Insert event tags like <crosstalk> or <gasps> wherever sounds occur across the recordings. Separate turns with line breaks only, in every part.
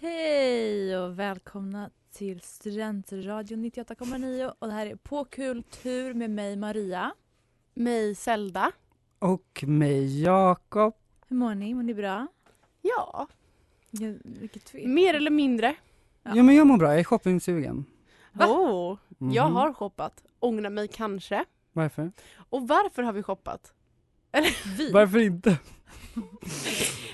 Hej och välkomna till Studentradion 98,9 och det här är På kultur med mig Maria.
Mig Zelda.
Och med Jakob.
Hur mår ni? Mår ni bra?
Ja,
Vilken- Vilket tvek.
mer eller mindre.
Ja.
Jo men jag mår bra, jag är shoppingsugen.
Va? Oh. Mm-hmm.
Mhm.
Jag har shoppat. Ångrar mig kanske.
Varför?
Och varför har vi shoppat?
Vi?
Varför inte?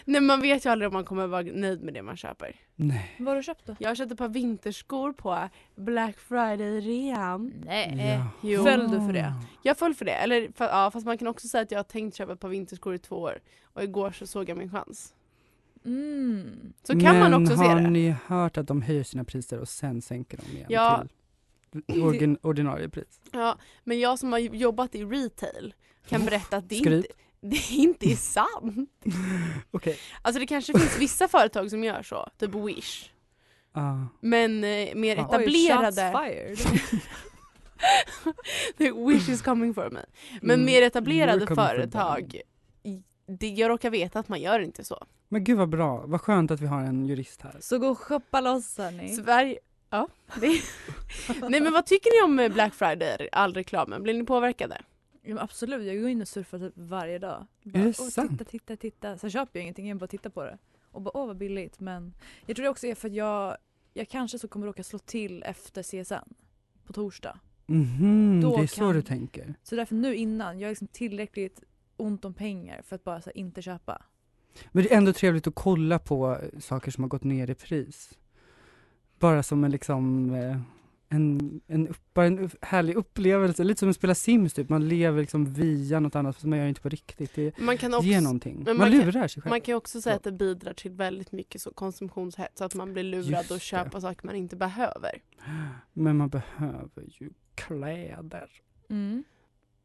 Nej, man vet ju aldrig om man kommer vara nöjd med det man köper.
Nej.
Vad har du köpt då?
Jag köpte ett par vinterskor på Black Friday-rean.
Nej.
Ja.
Eh, Jo.
Föll du för det?
Jag föll för det. Eller, fa- ja, fast man kan också säga att jag har tänkt köpa ett par vinterskor i två år. Och igår så såg jag min chans.
Mm.
Så kan
men
man också se
har
det.
ni hört att de höjer sina priser och sen sänker de igen
Ja.
till orgin, ordinarie pris? <laughs>
Ja, men jag som har jobbat i retail kan berätta att det
Skryt.
inte, <laughs> det inte är sant.
Okej.
Alltså det kanske finns vissa företag som gör så, typ Wish.
Ah.
Men eh, mer
Ja.
etablerade...
Oj, shots fired.
<laughs> Wish is coming for me. Men
Mm.
mer etablerade
You're coming for
företag, det, jag råkar veta att man gör inte så.
Men gud vad bra, vad skönt att vi har en jurist här.
Så gå och shoppa loss hörni.
Sverige...
<laughs>
Ja. Det, nej men vad tycker ni om eh, Black Friday, all reklamen? Blir ni påverkade?
Ja, men absolut, jag går in och surfar typ varje dag.
Är det
"Åh,
sant?"
titta, titta, titta. Sen köper jag ingenting, jag bara tittar på det. Och bara åh vad billigt. Men jag tror det också är för att jag, jag kanske så kommer råka slå till efter CSN på torsdag.
Mhm,
Då
det är så
kan-
du tänker.
Så därför nu innan, jag har liksom tillräckligt ont om pengar för att bara så här, inte köpa.
Men det är ändå trevligt att kolla på saker som har gått ner i pris. Bara som en liksom, eh, en, en, upp- bara en upp- härlig upplevelse, lite som att spela Sims typ, man lever liksom via något annat fast man gör inte på riktigt. Det
Man kan
ger
också,
någonting.
men
Man,
man kan-
lurar sig själv.
man kan ju också säga att det bidrar till väldigt mycket så konsumtionshets, så att man blir lurad
Just
att
det.
köpa saker man inte behöver.
Men man behöver ju kläder.
Mm.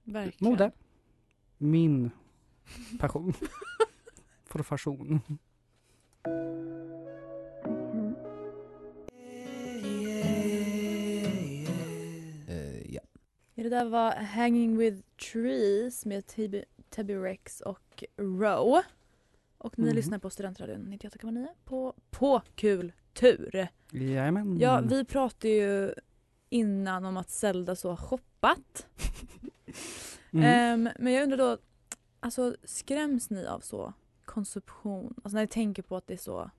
Verkligen.
Mode. Min passion. <laughs> Profession.
Ja, det där var Hanging with Trees med Tib- Tabby Rex och Row. Och ni
Mhm.
lyssnar på Studentradion 98,9 på, på kultur.
Jajamän.
Ja, vi pratade ju innan om att Zelda så har shoppat.
Mm.
Ehm, men jag undrar då, alltså skräms ni av så konsumtion? Alltså när ni tänker på att det är så,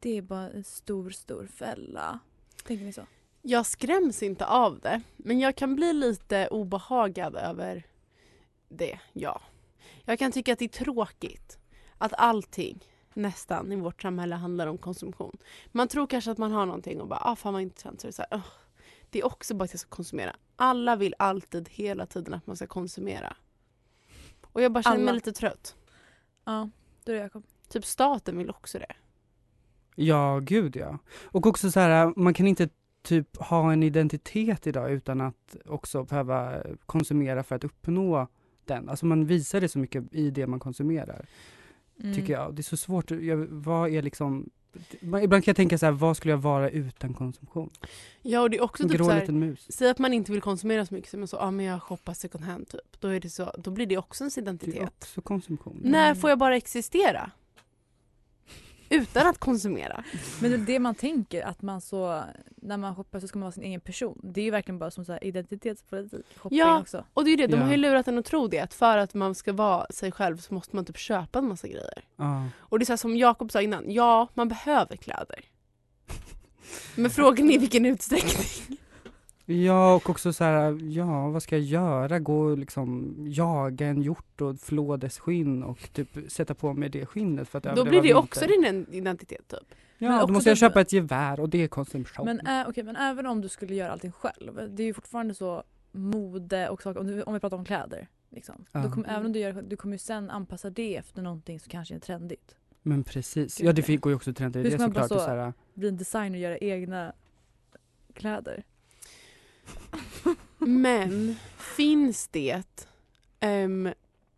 det är bara en stor, stor fälla. Tänker ni så?
Jag skräms inte av det, men jag kan bli lite obehagad över det, ja. Jag kan tycka att det är tråkigt att allting nästan i vårt samhälle handlar om konsumtion. Man tror kanske att man har någonting och bara, ah fan vad intressant, så är det så här, "Ugh." Det är också bara att jag ska konsumera. Alla vill alltid hela tiden att man ska konsumera. Och jag bara känner
Alla.
mig lite trött.
Ja, då är det Jakob.
Typ staten vill också det.
Ja, gud ja. Och också så här, man kan inte typ ha en identitet idag utan att också behöva konsumera för att uppnå den. Alltså man
Mm.
Mm. visar det så mycket i det man konsumerar, tycker jag. Det är så svårt, jag, vad är liksom man- ibland kan jag tänka så här, vad skulle jag vara utan konsumtion?
Ja, och det är också
En
typ
grå
så här,
liten mus.
Säg att man inte vill konsumera så mycket, men så, ah, men jag shoppar second hand typ. Då, är det så, då blir det också Mm. ens
Det är
identitet.
också konsumtion.
När får jag bara existera? Utan att konsumera.
Men det är det man tänker att man så, när man shoppar så ska man vara sin egen person. Det är ju verkligen bara som så här identitetspolitik. Shopping
Ja.
också.
Och det är ju det, de
Ja.
har ju lurat en att tro det, att för att man ska vara sig själv så måste man typ köpa en massa grejer.
Ja.
Och det är så här, som Jakob sa innan, ja, man behöver kläder. Men frågan är i vilken utsträckning.
ja, och också så här, ja, vad ska jag göra? Gå och liksom jaga en hjort och flå dess skinn och typ sätta på mig det skinnet för att
Då
överleva
blir det
vintern.
också din identitet typ.
Ja,
Men
då
också
måste jag
typ-
köpa ett gevär och det är konsumtion.
Men, äh, men även om du skulle göra allting själv, det är ju fortfarande så mode och saker, om, du, om vi pratar om kläder. Liksom.
Ja.
Då kommer, även om du gör du kommer ju sen anpassa det efter någonting som kanske är trendigt.
Men precis, ja det fick- går ju också trender i
Hur
det
ska man bara
såklart. Så...
så-
Så här,
Bli en designer och göra egna kläder.
Men finns det... Um,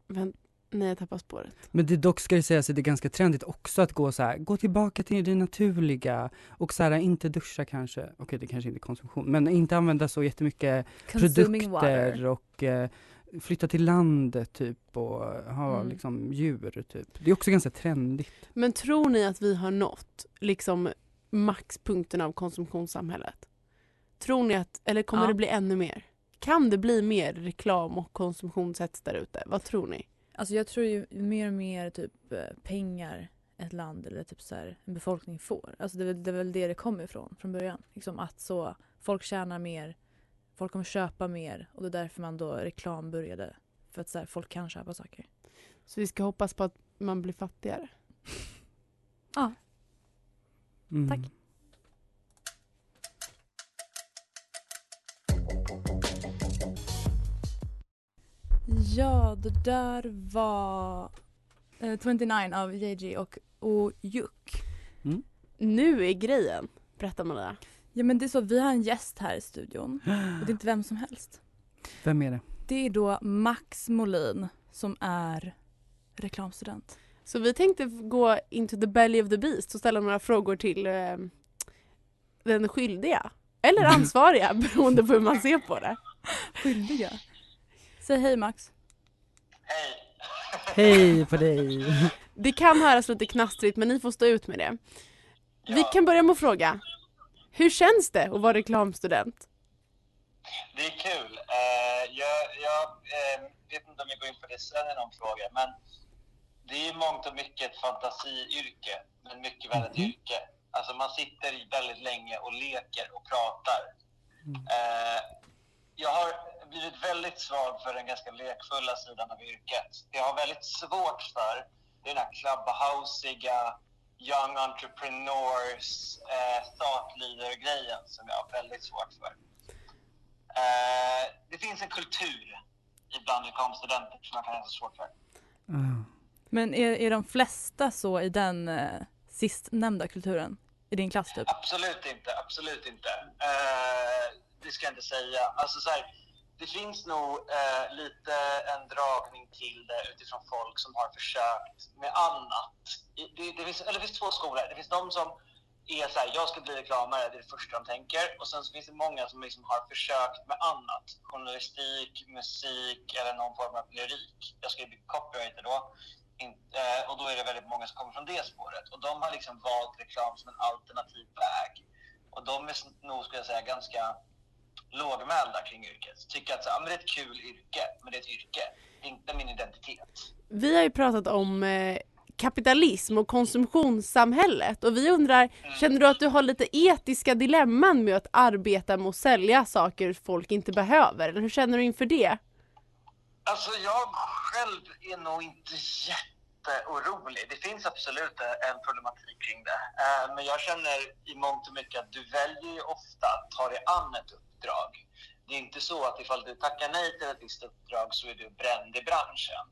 vänt, nej, jag tappar spåret.
men det dock ska ju sägas att det är ganska trendigt också att gå så här, gå tillbaka till det naturliga och så här, inte duscha kanske, okej det kanske inte är konsumtion, men inte använda så jättemycket
Consuming
produkter
water.
och eh, flytta till landet typ och ha
Mm.
liksom djur typ. Det är också ganska trendigt.
Men tror ni att vi har nått liksom maxpunkten av konsumtionssamhället? Tror ni att, eller kommer
Ja.
det bli ännu mer? Kan det bli mer reklam och konsumtionshets där ute? Vad tror ni?
Alltså jag tror ju mer och mer typ eh, pengar ett land eller typ så här, en befolkning får. Alltså det, är väl- det är väl det det kommer ifrån från början. Liksom att så folk tjänar mer, folk kommer köpa mer och det är därför man då reklam började. För att så här, folk kan köpa saker.
Så vi ska hoppas på att man blir fattigare?
Mm.
Tack.
Ja, det där var eh, 29 av JJ och Ojuk.
Nu är grejen, berätta Maria.
Ja men det är så, vi har en gäst här i studion och det är inte vem som helst.
Vem är det?
Det är då Max Molin som är reklamstudent.
Så vi tänkte gå into the belly of the beast och ställa några frågor till eh, den skyldiga. Eller ansvariga, <laughs> beroende på hur man ser på det.
Skyldiga. Säg hej Max.
Hej på dig!
Det kan höras lite knastrigt men ni får stå ut med det. Vi kan börja med att fråga. Hur känns det att vara reklamstudent?
Det är kul. Eh, jag jag eh, vet inte om jag går in på det sen i någon fråga, men det är ju mångt och mycket ett fantasiyrke, men mycket väl ett yrke. Alltså man sitter i väldigt länge och leker och pratar. Eh, jag har blivit väldigt svag för den ganska lekfulla sidan av yrket. Jag har väldigt svårt för det är den här clubhouseiga, young entrepreneurs, eh, thought leader-grejen som jag har väldigt svårt för. Eh, det finns en kultur ibland reklamstudenter som jag kan ha så svårt för.
Ah.
Men är, är de flesta så i den eh, sistnämnda kulturen? I din klass typ?
Absolut inte, absolut inte. Eh, det ska jag inte säga. Alltså så här, det finns nog eh, lite en dragning till det utifrån folk som har försökt med annat. I- Det, det, finns, eller det finns två skolor. Det finns de som är så här, jag ska bli reklamare, det är det första de tänker. Och sen så finns det många som liksom har försökt med annat. Journalistik, musik eller någon form av lyrik. Jag ska ju bli copywriter då. In, eh, och då är det väldigt många som kommer från det spåret. Och de har liksom valt reklam som en alternativ väg. Och de är s- nog, skulle jag säga, ganska lågmälda kring yrket. Tycker att så, här, "Ah, men det är ett kul yrke, men det är ett yrke. Det är inte min identitet.
Vi har ju pratat om eh, kapitalism och konsumtionssamhället och vi undrar, känner du att du har lite etiska dilemman med att arbeta med att sälja saker folk inte behöver? Eller hur känner du inför det?
Alltså jag själv är nog inte jätteorolig. Det finns absolut en problematik kring det. Eh, Men jag känner i mångt och mycket att du väljer ju ofta att ta dig an ett uppdrag. Det är inte så att ifall du tackar nej till ett visst uppdrag så är du bränd i branschen.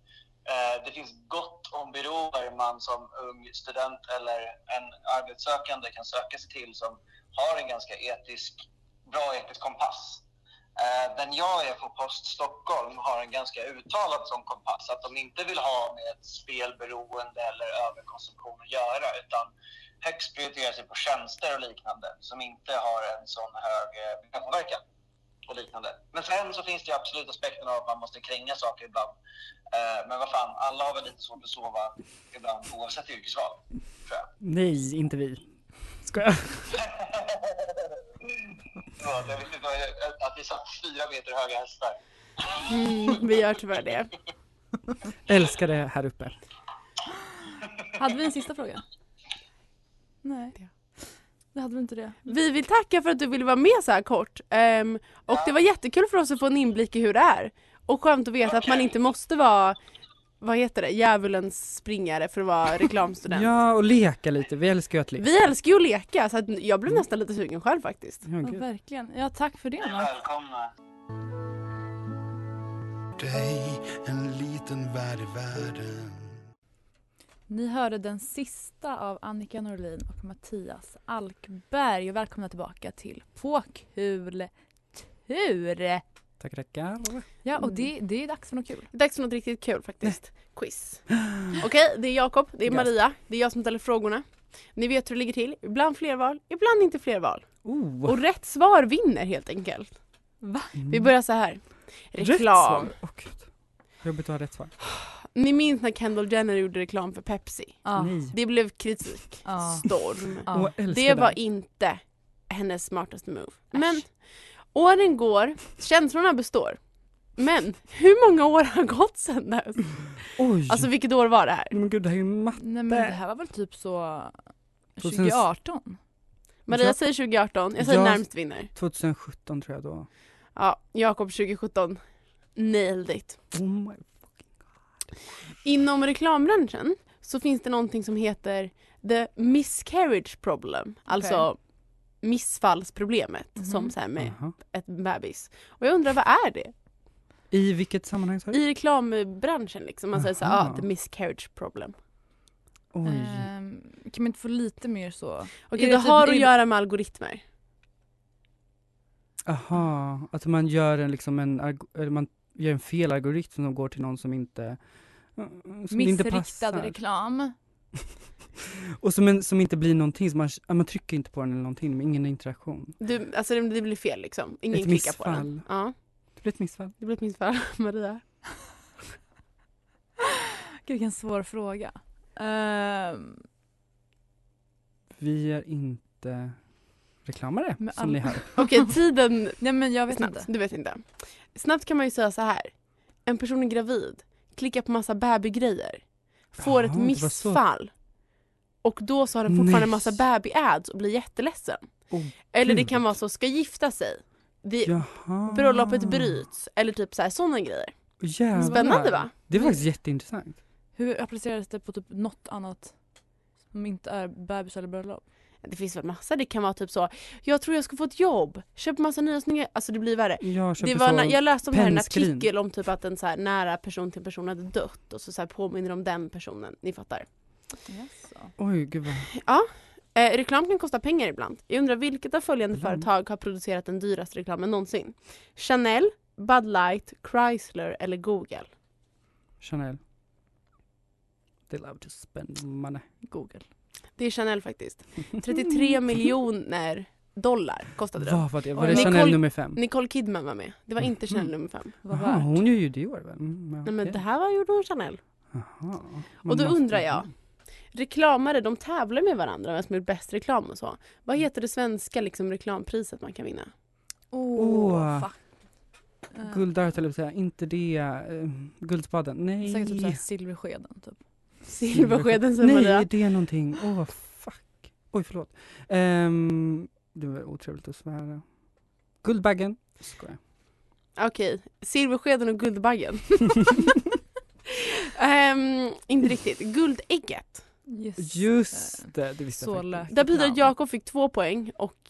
Eh, Det finns gott om byråer man som ung student eller en arbetssökande kan söka sig till som har en ganska etisk, bra etisk kompass. Eh, Den jag är på Post Stockholm har en ganska uttalad sån kompass att de inte vill ha med ett spelberoende eller överkonsumtion att göra utan högst prioriterar sig på tjänster och liknande som inte har en sån hög eh, miljöpåverkan och liknande. Men sen så finns det ju absolut aspekten av att man måste kränga saker ibland. Eh, men vad fan, alla har väl lite svårt att sova ibland oavsett yrkesval, tror jag.
Nej, inte vi.
<laughs>
Skojar.
Förlåt, jag visste inte vad jag- typ att vi satt fyra meter höga hästar.
Mm, vi gör tyvärr det.
Älskar det här uppe.
Hade vi en sista fråga? Nej.
Ja.
Det hade vi inte det.
Vi vill tacka för att du ville vara med så här kort. Ehm, och det var jättekul för oss att få en inblick i hur det är. Och skönt att veta att man inte måste vara, vad heter det, djävulens springare för att
<laughs>
vara reklamstudent.
Ja, och leka lite. Vi älskar ju att leka.
Vi älskar ju att leka så att jag blev nästan lite sugen själv faktiskt.
Ja,
Ja,
gud.
verkligen. Ja, tack för det.
Ni är
Mark.
välkomna.
dig en liten värld i världen
Ni hörde den sista av Annika Norlin och Mattias Alkberg. Och välkomna tillbaka till Påkultur.
Tack, Ah. tackar.
Ja, och det, det är dags för något kul.
Dags för något riktigt kul faktiskt.
<gasps>
Quiz. Okej, det är Jakob, det är
Yes.
Maria, det är jag som ställer frågorna. Ni vet hur det ligger till. Ibland flerval, ibland inte flerval.
Oh.
Och rätt svar vinner helt enkelt. Vi börjar så här. Reklam.
Mm. Rätt svar. Åh gud. Jobbigt att ha rätt svar.
Ni minns när Kendall Jenner gjorde reklam för Pepsi?
Ja.
Nej.
Det blev kritik.
Ja.
Storm.
Ja.
Åh, jag älskar
Det var
den.
inte hennes smartaste move. Men åren går, känslorna består. Men hur många år har gått sedan dess?
Oj!
Alltså vilket år var det här?
men gud, det här är ju matte.
Nej men det här var väl typ så 2018?
2018?
Maria säger 2018, jag säger
Jag-
närmst vinner.
2017 tror jag då.
Ja, Jakob 2017. Nailed it.
Oh my.
Inom reklambranschen så finns det någonting som heter the miscarriage problem. Alltså missfallsproblemet som så här med
Aha.
ett bebis. Och jag undrar vad är det?
I vilket sammanhang sa du?
I reklambranschen liksom, man säger så här,
Mm. Aha.
ah, the miscarriage problem.
Oj.
eh,
Ehm, kan man inte få lite mer så?
Okej,
Är
det,
det typ-
har
är
att
det-
göra med algoritmer.
Aha, att man gör en, liksom en, arg- eller man gör en fel algoritm som går till någon som inte eh, som inte
Missriktad
passar.
reklam. <gasps>
Och som, en, som inte blir någonting, som man, ja, man trycker inte på den eller någonting, men ingen interaktion.
Du, alltså det, det blir fel liksom, ingen
Ett
klickar på den.
missfall.
Ja,
Det blir ett missfall.
det blir ett missfall. <laughs>
<laughs>
Maria?
Gud vilken svår fråga. Ehm,
Vi är inte reklamare,
Men
som ni
all-
<laughs>
hör.
Okej, tiden
nej men jag vet
Snabbt.
inte.
Du vet inte. Snabbt kan man ju säga så här. En person är gravid, klickar på massa babygrejer, får
Jaha,
ett
det var så.
missfall och då så har den fortfarande en
Nej.
massa baby-ads och blir jätteledsen.
Åh,
Eller det
gud.
kan vara så, ska gifta sig, det,
Jaha.
bröllopet
Mm.
bryts eller typ så här, sådana grejer.
Jävlar.
Spännande va?
Det var faktiskt jätteintressant.
Hur appliceras det på typ något annat som inte är bebis eller bröllop?
Det finns väl massa, det kan vara typ så, jag tror jag ska få ett jobb, köper massa nya snygga, alltså det blir värre.
Jag köper
Det var,
så...
när- jag läste om det här i en
pennskrin.
artikel om typ att en så här nära person till en person hade dött och så, så här påminner om den personen, ni fattar.
Jaså.
Oj, gud vad...
Eh, reklam kan kosta pengar ibland. Jag undrar vilket av följande företag har producerat den dyraste reklamen någonsin? Chanel, Bud Light, Chrysler eller Google?
Chanel. They love to spend money.
Google.
Det är Chanel faktiskt.
Mm.
33 miljoner dollar kostade den.
Vad var det? Var
Oj.
det Chanel
Nicole-
nummer fem?
Nicole Kidman var med. Det var
Mm.
inte Chanel nummer fem.
Vad
Jaha,
värt?
hon gör ju Dior väl? Mm,
Nej men
okej.
det här var gjorde hon Chanel.
Jaha.
Och då
Man måste-
undrar jag. Reklamare de tävlar med varandra vem som gjort bäst reklam och så. Vad
Mm.
heter det svenska liksom, reklampriset man kan vinna?
Åh,
Åh.
fuck. Ehm,
Guldörat eller säga, inte det, eh, Guldspaden, nej.
Säkert typ såhär silverskeden typ.
Silverskeden säger
Nej, är
Maria.
det någonting? Åh, fuck. Oj, förlåt. Um, det var otrevligt att svära. Guldbaggen. Skojar.
Okej, silverskeden och
<laughs>
guldbaggen. Ehm, inte riktigt. Guldägget.
Just. Eh,
Just det, det visste
Så
jag
lök.
faktiskt.
Där betyder det att
Namn.
Jakob fick två poäng och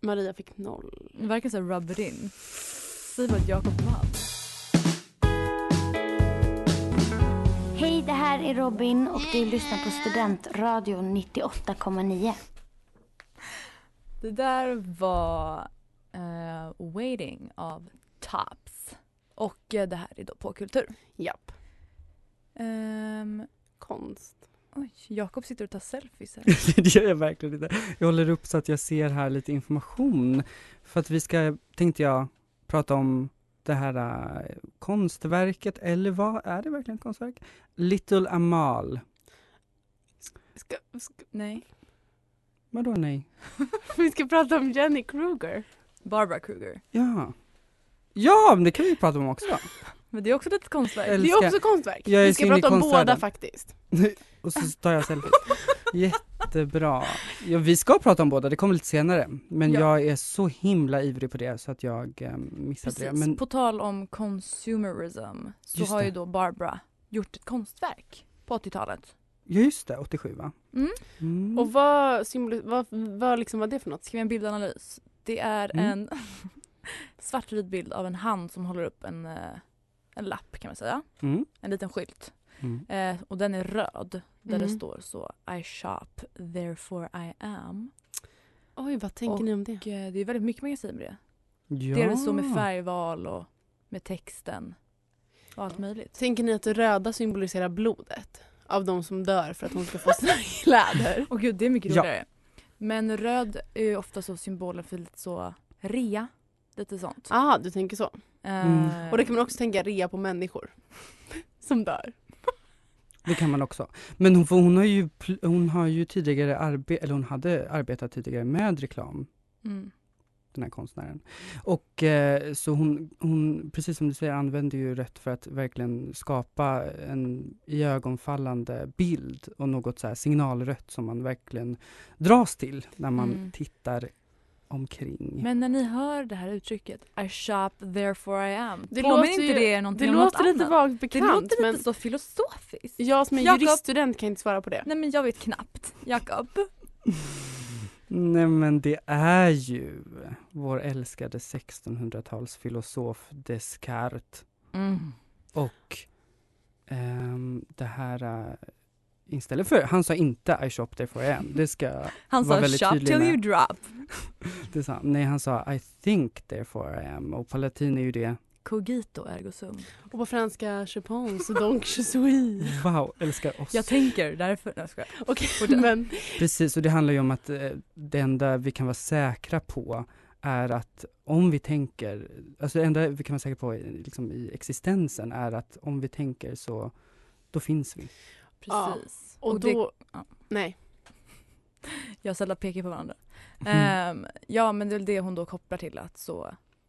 Maria fick noll.
Det verkar såhär rubber in. Säg bara att Jakob vann.
Hej, det här är Robin och du lyssnar på Studentradion 98,9.
Det där var eh, Waiting av Tops. Och eh, det här är då på kultur.
Japp.
Ehm,
Konst.
Oj, Jakob sitter och tar selfies
<laughs>
här.
det gör jag verkligen inte. Jag håller upp så att jag ser här lite information. För att vi ska, tänkte jag, prata om det här eh, konstverket, eller vad är det verkligen ett konstverk? Little Amal.
Ska, ska, <laughs>
Nej.
Vadå nej?
vi ska prata om Jenny Kruger.
Barbara Kruger.
Ja. Ja, men det kan vi prata
<laughs>
om också.
Men det är också ett konstverk.
Eller-
Det är
Älskar-
också konstverk.
Jag är
Vi ska
så inne i
prata om båda
konstvärlden.
faktiskt.
Och så tar jag
<laughs>
selfies. Jättebra. Ja, vi ska prata om båda, det kommer lite senare. Men
Ja.
jag är så himla ivrig på det så att jag eh, missade
Precis.
det. Men
På tal om consumerism så
Just
har
det.
ju då Barbara gjort ett konstverk på 80-talet.
ja, just det, 87 va?
Mm.
Mm.
Och vad, symbol, vad, vad liksom var det för något?
Ska vi göra en bildanalys? Det är
Mm.
en <laughs> svartvit bild av en hand som håller upp en, eh, en lapp kan man säga.
Mm.
En liten skylt.
Mm.
Eh, och den är röd. Där det
Mm.
står så I shop, therefore I am.
Oj, vad tänker
Och-
ni om det?
Och, eh, det är väldigt mycket magasin med det.
Ja.
Det är det så med färgval och med texten. Och allt möjligt.
Tänker ni att det röda symboliserar blodet? Av de som dör för att hon
<laughs>
ska få sina kläder?
Åh gud, det är mycket
Ja.
roligare. Men röd är ju ofta så symbolen för lite så rea. Lite sånt.
Ah, du tänker så.
Eh,
Mm.
Och det kan man också tänka rea på människor. <laughs> Som dör.
Det kan man också. Men hon, för hon, har, ju, pl- hon har ju tidigare arbe- eller hon hade arbetat tidigare med reklam,
mm.
den här konstnären. Och eh, så hon, hon, precis som du säger, använder ju rött för att verkligen skapa en iögonfallande bild och något så här signalrött som man verkligen dras till när man
Mm.
tittar omkring.
Men när ni hör det här uttrycket I shop, therefore I am.
Det
påminner
låter
inte
ju-
det er någonting
Det
om något
låter lite
annat?
vagt
det
bekant.
låter
men
lite så filosofiskt.
Jag som är
Jakob.
juriststudent kan inte svara på det.
Nej men jag vet knappt. Jakob.
<laughs> Nej men det är ju vår älskade 1600-talsfilosof Descartes
Mm.
Och ehm, det här, eh, istället för, han sa inte I shop therefore I am, det ska,
Han
Var
sa
väldigt
shop
tydlig
till
med.
you drop.
det sa, nej han sa I think therefore I am och palatin är ju det,
Cogito ergo sum.
Och på franska, je
<laughs>
pense, donc je suis.
wow, älskar oss.
Jag tänker därför. Nej, jag skojar.
Okej, men
Precis, och det handlar ju om att eh, det enda vi kan vara säkra på är att om vi tänker, alltså det enda vi kan vara säkra på i- liksom, i existensen är att om vi tänker så, då finns vi.
Ja.
Precis.
och
det-
då...
ja.
Nej.
Jag sällan pekar på varandra.
Mm.
Mm.
Ehm, ja men det är väl det hon då kopplar till att så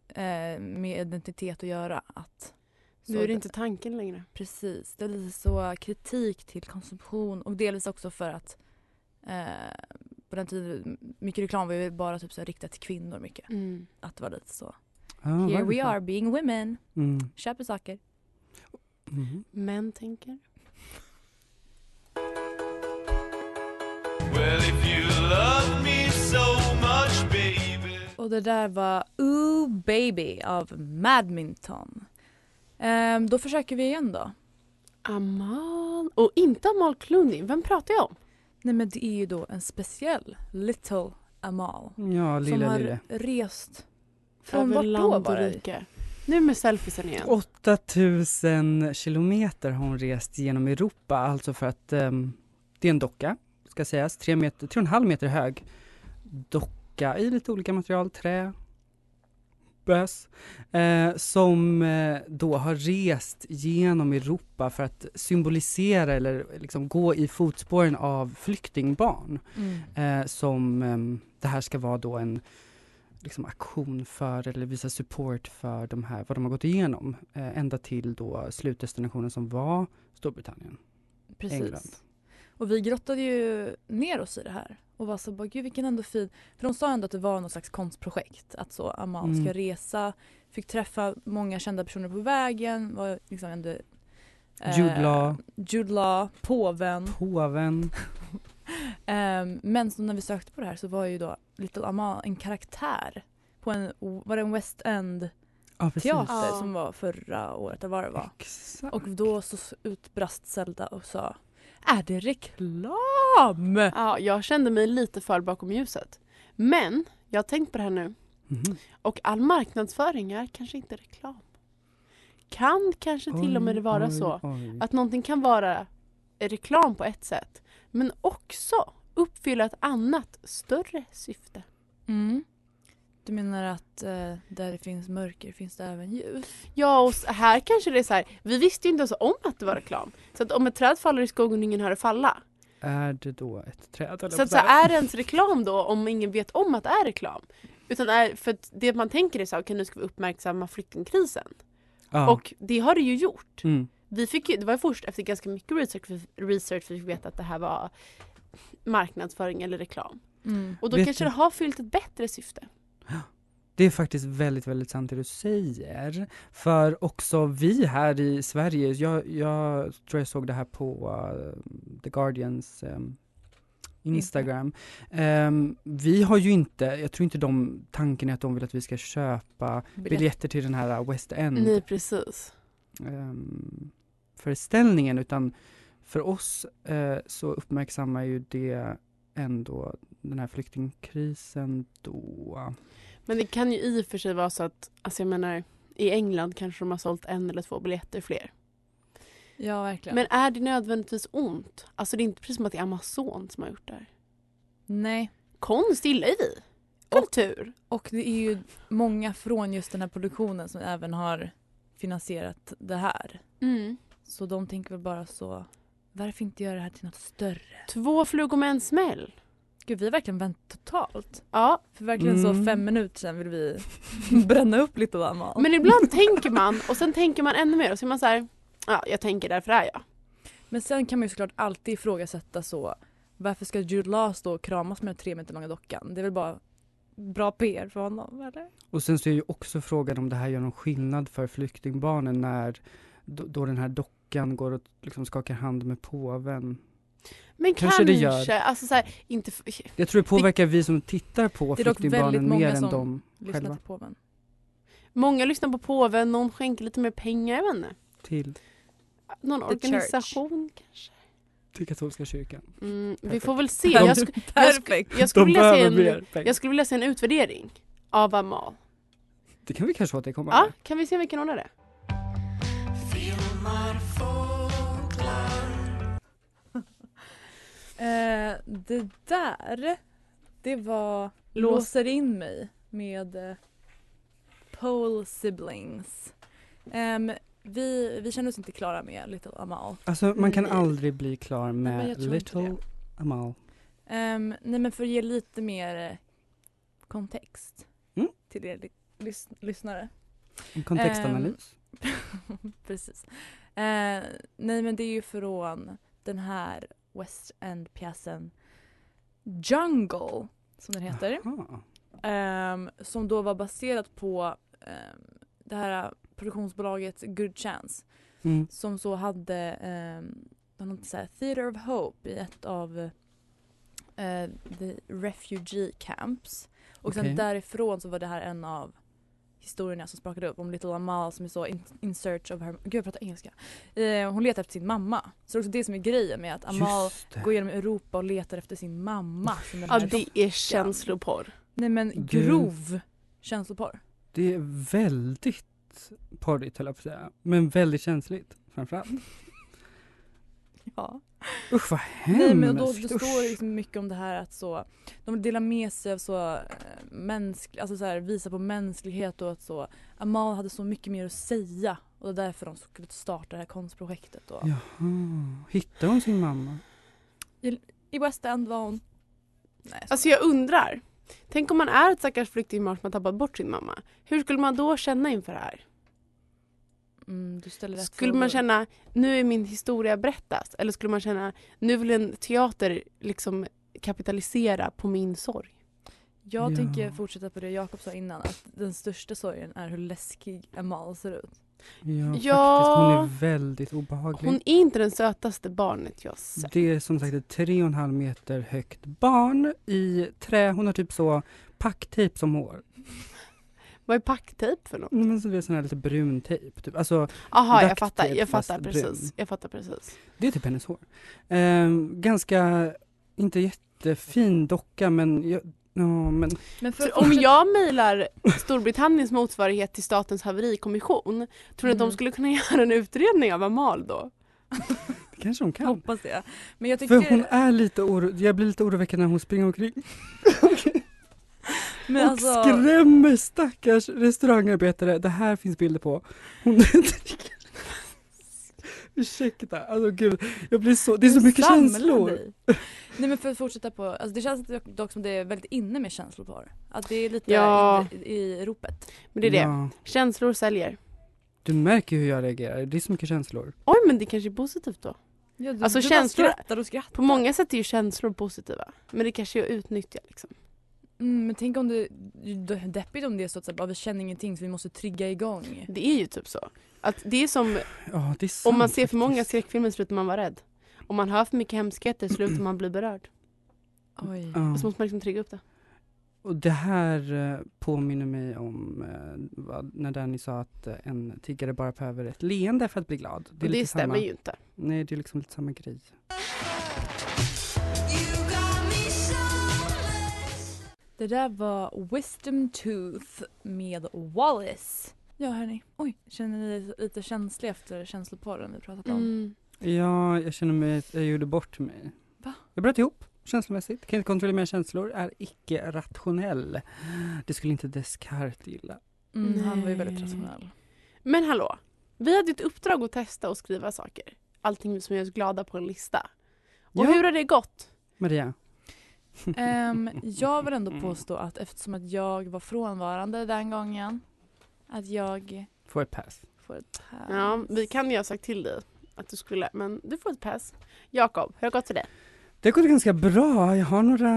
eh, med identitet att göra. Att
Nu är det inte tanken längre.
Precis, det är lite så kritik till konsumtion och delvis också för att eh, på den tiden, mycket reklam var ju bara typ så här riktat till kvinnor mycket. Att det var lite så.
Ah,
Here
varför?
we are being women,
Mm.
köper saker.
Mhm.
Män tänker.
Well, if you love me so much, baby
Och det där var Ooh Baby av Madminton. Ehm, då försöker vi igen då.
Amal... Och inte Amal Clooney. Vem pratar jag om?
Nej men det är ju då en speciell Little Amal.
Ja,
som
lilla
har
lille.
rest från
Över
vart då
land och
var det?
rike. Nu med selfiesen igen.
8000 kilometer har hon rest genom Europa, alltså för att ehm, det är en docka, ska sägas, tre meter, tre och en halv meter hög docka i lite olika material, trä, bös, eh, som eh, då har rest genom Europa för att symbolisera eller liksom gå i fotspåren av flyktingbarn
Mm.
eh, som ehm, det här ska vara då en liksom, aktion för eller visa support för de här, vad de har gått igenom eh, ända till då slutdestinationen som var Storbritannien.
Precis.
England.
Och vi grottade ju ner oss i det här och var så bara, gud vilken ändå fin, för de sa ändå att det var något slags konstprojekt, att så Amal
Mm.
ska resa, fick träffa många kända personer på vägen, var liksom ändå eh,
Jude Law,
Jude Law, påven.
Mm. <laughs>
påven,
Ehm, men så när vi sökte på det här så var ju då Little Amal en karaktär på en, var det en West End
ja precis.
teater
Ja.
som var förra året eller vad det var.
Exakt.
Och då så utbrast Zelda och sa Är det reklam?
Ja, jag kände mig lite för bakom ljuset. Men jag har tänkt på det här nu.
Mhm.
Och all marknadsföring är kanske inte reklam. Kan kanske till och med
Oj,
vara
oj,
så
oj.
att någonting kan vara reklam på ett sätt men också uppfylla ett annat större syfte.
Mm. Du menar att eh, där det finns mörker finns det även ljus?
Ja, och s- här kanske det är så här, vi visste ju inte ens om att det var reklam. Så att om ett träd faller i skogen och ingen hör det falla.
Är det då ett träd? eller
Så att så
vad?
här, är det ens reklam då om ingen vet om att det är reklam? Utan är, för att det man tänker är så här, okej nu ska vi uppmärksamma flyktingkrisen.
ja.
Och det har det ju gjort.
Mm.
Vi fick ju, det var ju först efter ganska mycket research, research vi fick veta att det här var marknadsföring eller reklam.
Mm.
Och då
Vet
kanske
du-
det har fyllt ett bättre syfte.
Det är faktiskt väldigt, väldigt sant det du säger. För också vi här i Sverige, jag, jag tror jag såg det här på eh, The Guardians ehm, Instagram. Ehm, vi har ju inte, jag tror inte de, tanken är att de vill att vi ska köpa biljetter till den här eh, West End
Nej precis.
ehm, föreställningen utan för oss eh, så uppmärksammar ju det ändå den här flyktingkrisen då.
Men det kan ju i och för sig vara så att, alltså jag menar, i England kanske de har sålt en eller två biljetter fler.
Ja, verkligen.
Men är det nödvändigtvis ont? Alltså det är inte precis som att det är Amazon som har gjort det här.
Nej.
Konst gillar ju vi. Kultur.
Och det är ju många från just den här produktionen som även har finansierat det här.
Mm.
Så de tänker väl bara så, varför inte göra det här till något större?
Två flugor med en smäll.
Gud, vi har verkligen vänt totalt.
Ja,
För verkligen
Mm.
så fem minuter sedan vill vi <laughs> bränna upp lite av mat.
men ibland tänker man och sen tänker man ännu mer och så är man så här, ja jag tänker därför är jag.
Men sen kan man ju såklart alltid ifrågasätta så varför ska Jude Law stå och kramas med den tre meter långa dockan? Det är väl bara bra PR för honom eller?
Och sen så är ju också frågan om det här gör någon skillnad för flyktingbarnen när då, då den här dockan går och liksom skakar hand med påven.
Men
Kanske
kanske,
det gör.
alltså så här, inte f-
Jag tror det påverkar vi som tittar på
Det är dock väldigt
flyktingbarnen
många
mer än
som
dem
Lyssna
själva.
till påven.
många lyssnar på påven, någon skänker lite mer pengar, jag vet inte.
Till,
Någon
The church.
organisation kanske.
till katolska kyrkan.
Mm, vi
Perfekt.
får väl se. Jag, sk- jag, sk- jag, skulle
De
vilja se
behöver
en,
mer pengar.
jag skulle vilja se en utvärdering av Amal.
Det kan vi kanske återkomma
Ja, kan vi se om vi kan ordna det?
Eh, det där, det var
Lås-
Låser in mig med eh, Pole Siblings. Ehm, vi, vi känner oss inte klara med Little Amal.
Alltså man kan
Mm. Nej.
aldrig bli klar med
men jag tror inte
Little Amal.
Ehm, nej men för att ge lite mer eh, kontext
Mm.
till er li- lys- lyssnare.
En
Ehm,
kontextanalys.
Precis. Eh, nej men det är ju från den här West End-pjäsen Jungle som den heter.
Jaha.
Ehm, som då var baserat på ehm, det här produktionsbolaget Good Chance
Mm.
som så hade um, något så här Theater of Hope i ett av eh, the refugee camps. Och
Okej.
sen därifrån så var det här en av historierna som sprakade upp om Little Amal som är så in, in search of her... Gud jag pratar engelska. Eh, hon letar efter sin mamma. Så det är också det som är grejen med att Amal
Just det.
går genom Europa och letar efter sin mamma. Som den
Ja,
här
det är känsloporr.
Nej men
Du-
grov känsloporr.
Det är väldigt porrigt höll jag på att säga. Men väldigt känsligt framförallt.
<laughs> Ja.
Usch vad hemskt.
Nej men då, då
Usch.
står det liksom mycket om det här att så, de delar med sig av så, eh, mänsklig, alltså så här, visa på mänsklighet och att så, Amal hade så mycket mer att säga och det är därför de skulle starta det här konstprojektet då.
Jaha. Hittar hon sin mamma?
I West End var hon... Nej, jag
Alltså jag undrar. Tänk om man är ett stackars flyktingbarn som har tappat bort sin mamma. Hur skulle man då känna inför det här?
skojar. mm, du ställer rätt
Skulle man
frågor.
känna nu är min historia berättas? Eller skulle man känna nu vill en teater liksom kapitalisera på min sorg?
Jag
Ja.
tänker fortsätta på det Jakob sa innan, att den största sorgen är hur läskig Amal ser ut.
Ja,
Ja.
faktiskt. Hon är väldigt obehaglig.
Hon är inte den sötaste barnet jag sett.
Det är som sagt ett tre och en halv meter högt barn i trä. Hon har typ så packtejp som hår.
Vad är packtejp för något?
Nej, Men så det är sån här lite brun tejp. Typ. Alltså,
Jaha, jag
Duct
fattar.
tape,
Jag fattar
fast brun.
precis. Jag fattar precis.
det är typ hennes hår. Ehm, ganska, inte jättefin docka men, jag, ja, men
Men för
Så
att
om
<laughs> fortsätta-
jag mejlar Storbritanniens motsvarighet till <laughs> Statens haverikommission, tror ni att de
Mm.
skulle kunna göra en utredning av Amal då?
Det kanske hon kan.
Hoppas det. Men jag tycker...
För hon är lite oro... Jag blir lite oroväckad när hon springer omkring
men
och
alltså,
skrämmer stackars restaurangarbetare. Det här finns bilder på. Hon <laughs> dricker... Ursäkta, alltså gud. Jag blir så... Det är så mycket
Samla
känslor.
dig. Nej men för att fortsätta på, alltså det känns dock- dock som det är väldigt inne med känslor på det. Att det är lite
Ja.
i, i ropet.
Men det är det.
Ja,
Känslor säljer.
du märker hur jag reagerar. Det är så mycket känslor.
Oj, men det kanske är positivt då.
Ja, du,
Alltså,
du
känslor-
bara skrattar och skrattar.
På många sätt är ju känslor positiva. Men det kanske är att utnyttja liksom.
Mm, men tänk om det, det är deppigt om det är så att så här, bara, vi känner ingenting så vi måste trigga igång.
Det är ju typ så. Att det är som
Ja, det är sant,
om man ser för många
faktiskt.
skräckfilmer slutar man vara rädd. Om man hör för mycket hemskheter slutar man bli berörd.
Oj.
Ja.
Och så måste man liksom trigga upp det.
Och det här eh, påminner mig om eh, vad- när Danny sa att eh, en tiggare bara behöver ett leende för att bli glad.
Det, och det
lite
stämmer
samma,
ju inte.
Nej, det är liksom lite samma grej.
Det där var Wisdom Tooth med Wallace. Ja hörni, oj, känner ni er lite känsliga efter känslopodden vi pratat om?
Mm.
Ja, jag känner mig, jag gjorde bort mig.
Va?
Jag bröt ihop känslomässigt. Kan inte kontrollera mina känslor, är icke rationell. Det skulle inte Descartes gilla.
Mm, han var ju
Nej.
väldigt rationell.
Men hallå. Vi hade ju ett uppdrag att testa och skriva saker. Allting som gör oss glada på en lista. Och
Ja.
hur har det gått?
Maria,
Ehm, jag vill ändå påstå att eftersom att jag var frånvarande den gången att jag
får ett pass.
får ett pass.
Ja, vi kan ju ha sagt till dig att du skulle, men du får ett pass. Jakob, hur har det gått för dig?
Det har gått ganska bra. Jag har några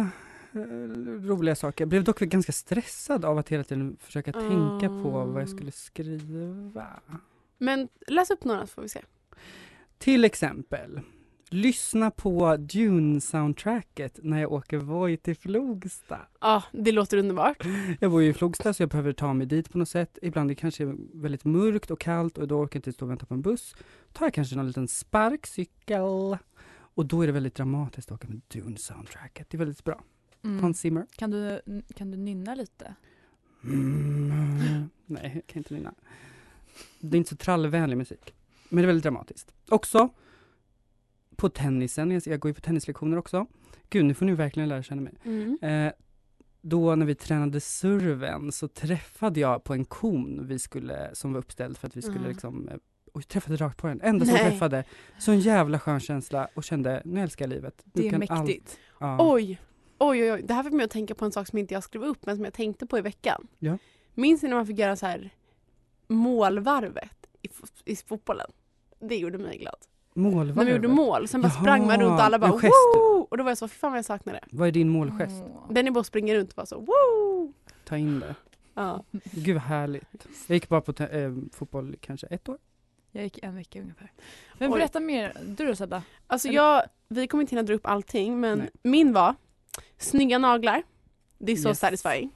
eh, roliga saker. Jag blev dock ganska stressad av att hela tiden försöka tänka på vad jag skulle skriva.
Men läs upp några så får vi se.
Till exempel, lyssna på Dune-soundtracket när jag åker Voi till Flogsta.
Ja, det låter underbart.
Jag bor ju i Flogsta så jag behöver ta mig dit på något sätt. Ibland det kanske är väldigt mörkt och kallt och då orkar jag inte stå och vänta på en buss. Tar jag kanske någon liten sparkcykel. Och då är det väldigt dramatiskt att åka med Dune-soundtracket. Det är väldigt bra.
Mm.
Hans Zimmer.
Kan, du, kan du nynna lite?
Mm. Nej, jag kan inte nynna. Det är inte så trallvänlig musik. Men det är väldigt dramatiskt. Också på tennisen, jag- jag går ju på tennislektioner också. Gud, nu får ni verkligen lära känna mig.
Mm.
Eh, då när vi tränade serven så träffade jag på en kon vi skulle, som var uppställd för att vi skulle
Mm.
liksom eh, och jag träffade rakt på den, enda som
Nej.
träffade. Så en jävla skön känsla och kände, nu älskar jag livet. Nu
Det är
kan allt-
mäktigt.
ja.
Oj, oj, oj, oj. Det här fick mig att tänka på en sak som inte jag skrev upp, men som jag tänkte på i veckan.
Ja.
Minns ni när man fick göra så här målvarvet i, fo- i fotbollen? Det gjorde mig glad.
Målvarvet.
När man gjorde mål, sen bara
Jaha,
sprang man runt och alla
en
bara
gest.
wow! Och då var jag så, fy fan vad jag saknar det.
Vad är din målgest?
Åh.
Den är bara att springa runt och bara så wow!
Ta in det.
Ja.
Gud vad härligt. Jag gick bara på te- eh, fotboll kanske ett år.
Jag gick en vecka ungefär. Men
Oj.
berätta mer. Du då Sebbe?
Alltså jag, vi kommer inte hinna dra upp allting men
Nej.
min var snygga naglar. Det är så
Yes.
satisfying.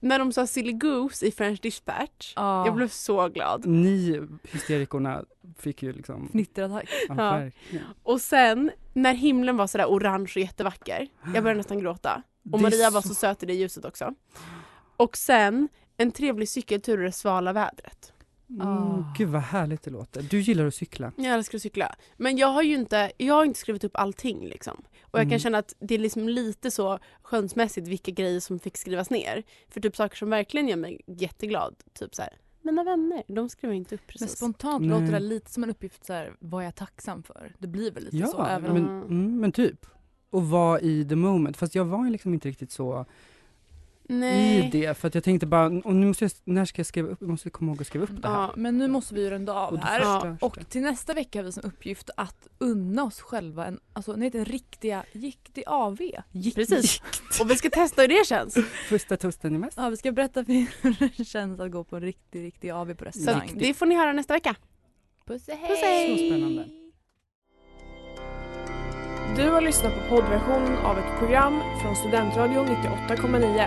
När de sa silly goose i French Dispatch,
Ah.
jag blev så glad.
Ni hysterikorna fick ju liksom...
Fnitterattack.
Ja,
Ja.
verkligen.
Och sen när himlen var sådär orange och jättevacker, jag började nästan gråta. Och
Det är
Maria var så söt i det ljuset också. Och sen en trevlig cykeltur i det svala vädret.
Mm,
Ah.
gud vad härligt det låter. Du gillar att cykla.
Jag älskar att cykla. Men jag har ju inte, jag har inte skrivit upp allting liksom. Och jag
Mm.
kan känna att det är liksom lite så skönsmässigt vilka grejer som fick skrivas ner. För typ saker som verkligen gör mig jätteglad, typ så här, mina vänner, de skriver jag inte upp
Men
precis.
spontant
Nej.
låter det lite som en uppgift så här, vad är jag tacksam för? Det blir väl lite
Ja,
så även om...
men,
om-
mm, men typ. Och vara i the moment. Fast jag var ju liksom inte riktigt så i
Nej.
det. För att jag tänkte bara, och nu måste jag, när ska jag skriva upp, jag måste komma ihåg att skriva upp det här.
Ja,
Men nu måste vi ju runda
Och
av
då
här.
Ja,
förstörs det.
Och till nästa vecka har vi som uppgift att unna oss själva en, alltså nej, den riktiga, riktig AV.
precis. Och vi ska testa hur det känns.
<laughs> Första toasten i mest.
Ja, vi ska berätta för er hur det känns att gå på en riktig, riktig AV på
Så att
restaurang.
det får ni höra nästa vecka.
Puss och
Puss, hej!
Så spännande.
Du har lyssnat på poddversionen av ett program från Studentradion 98,9.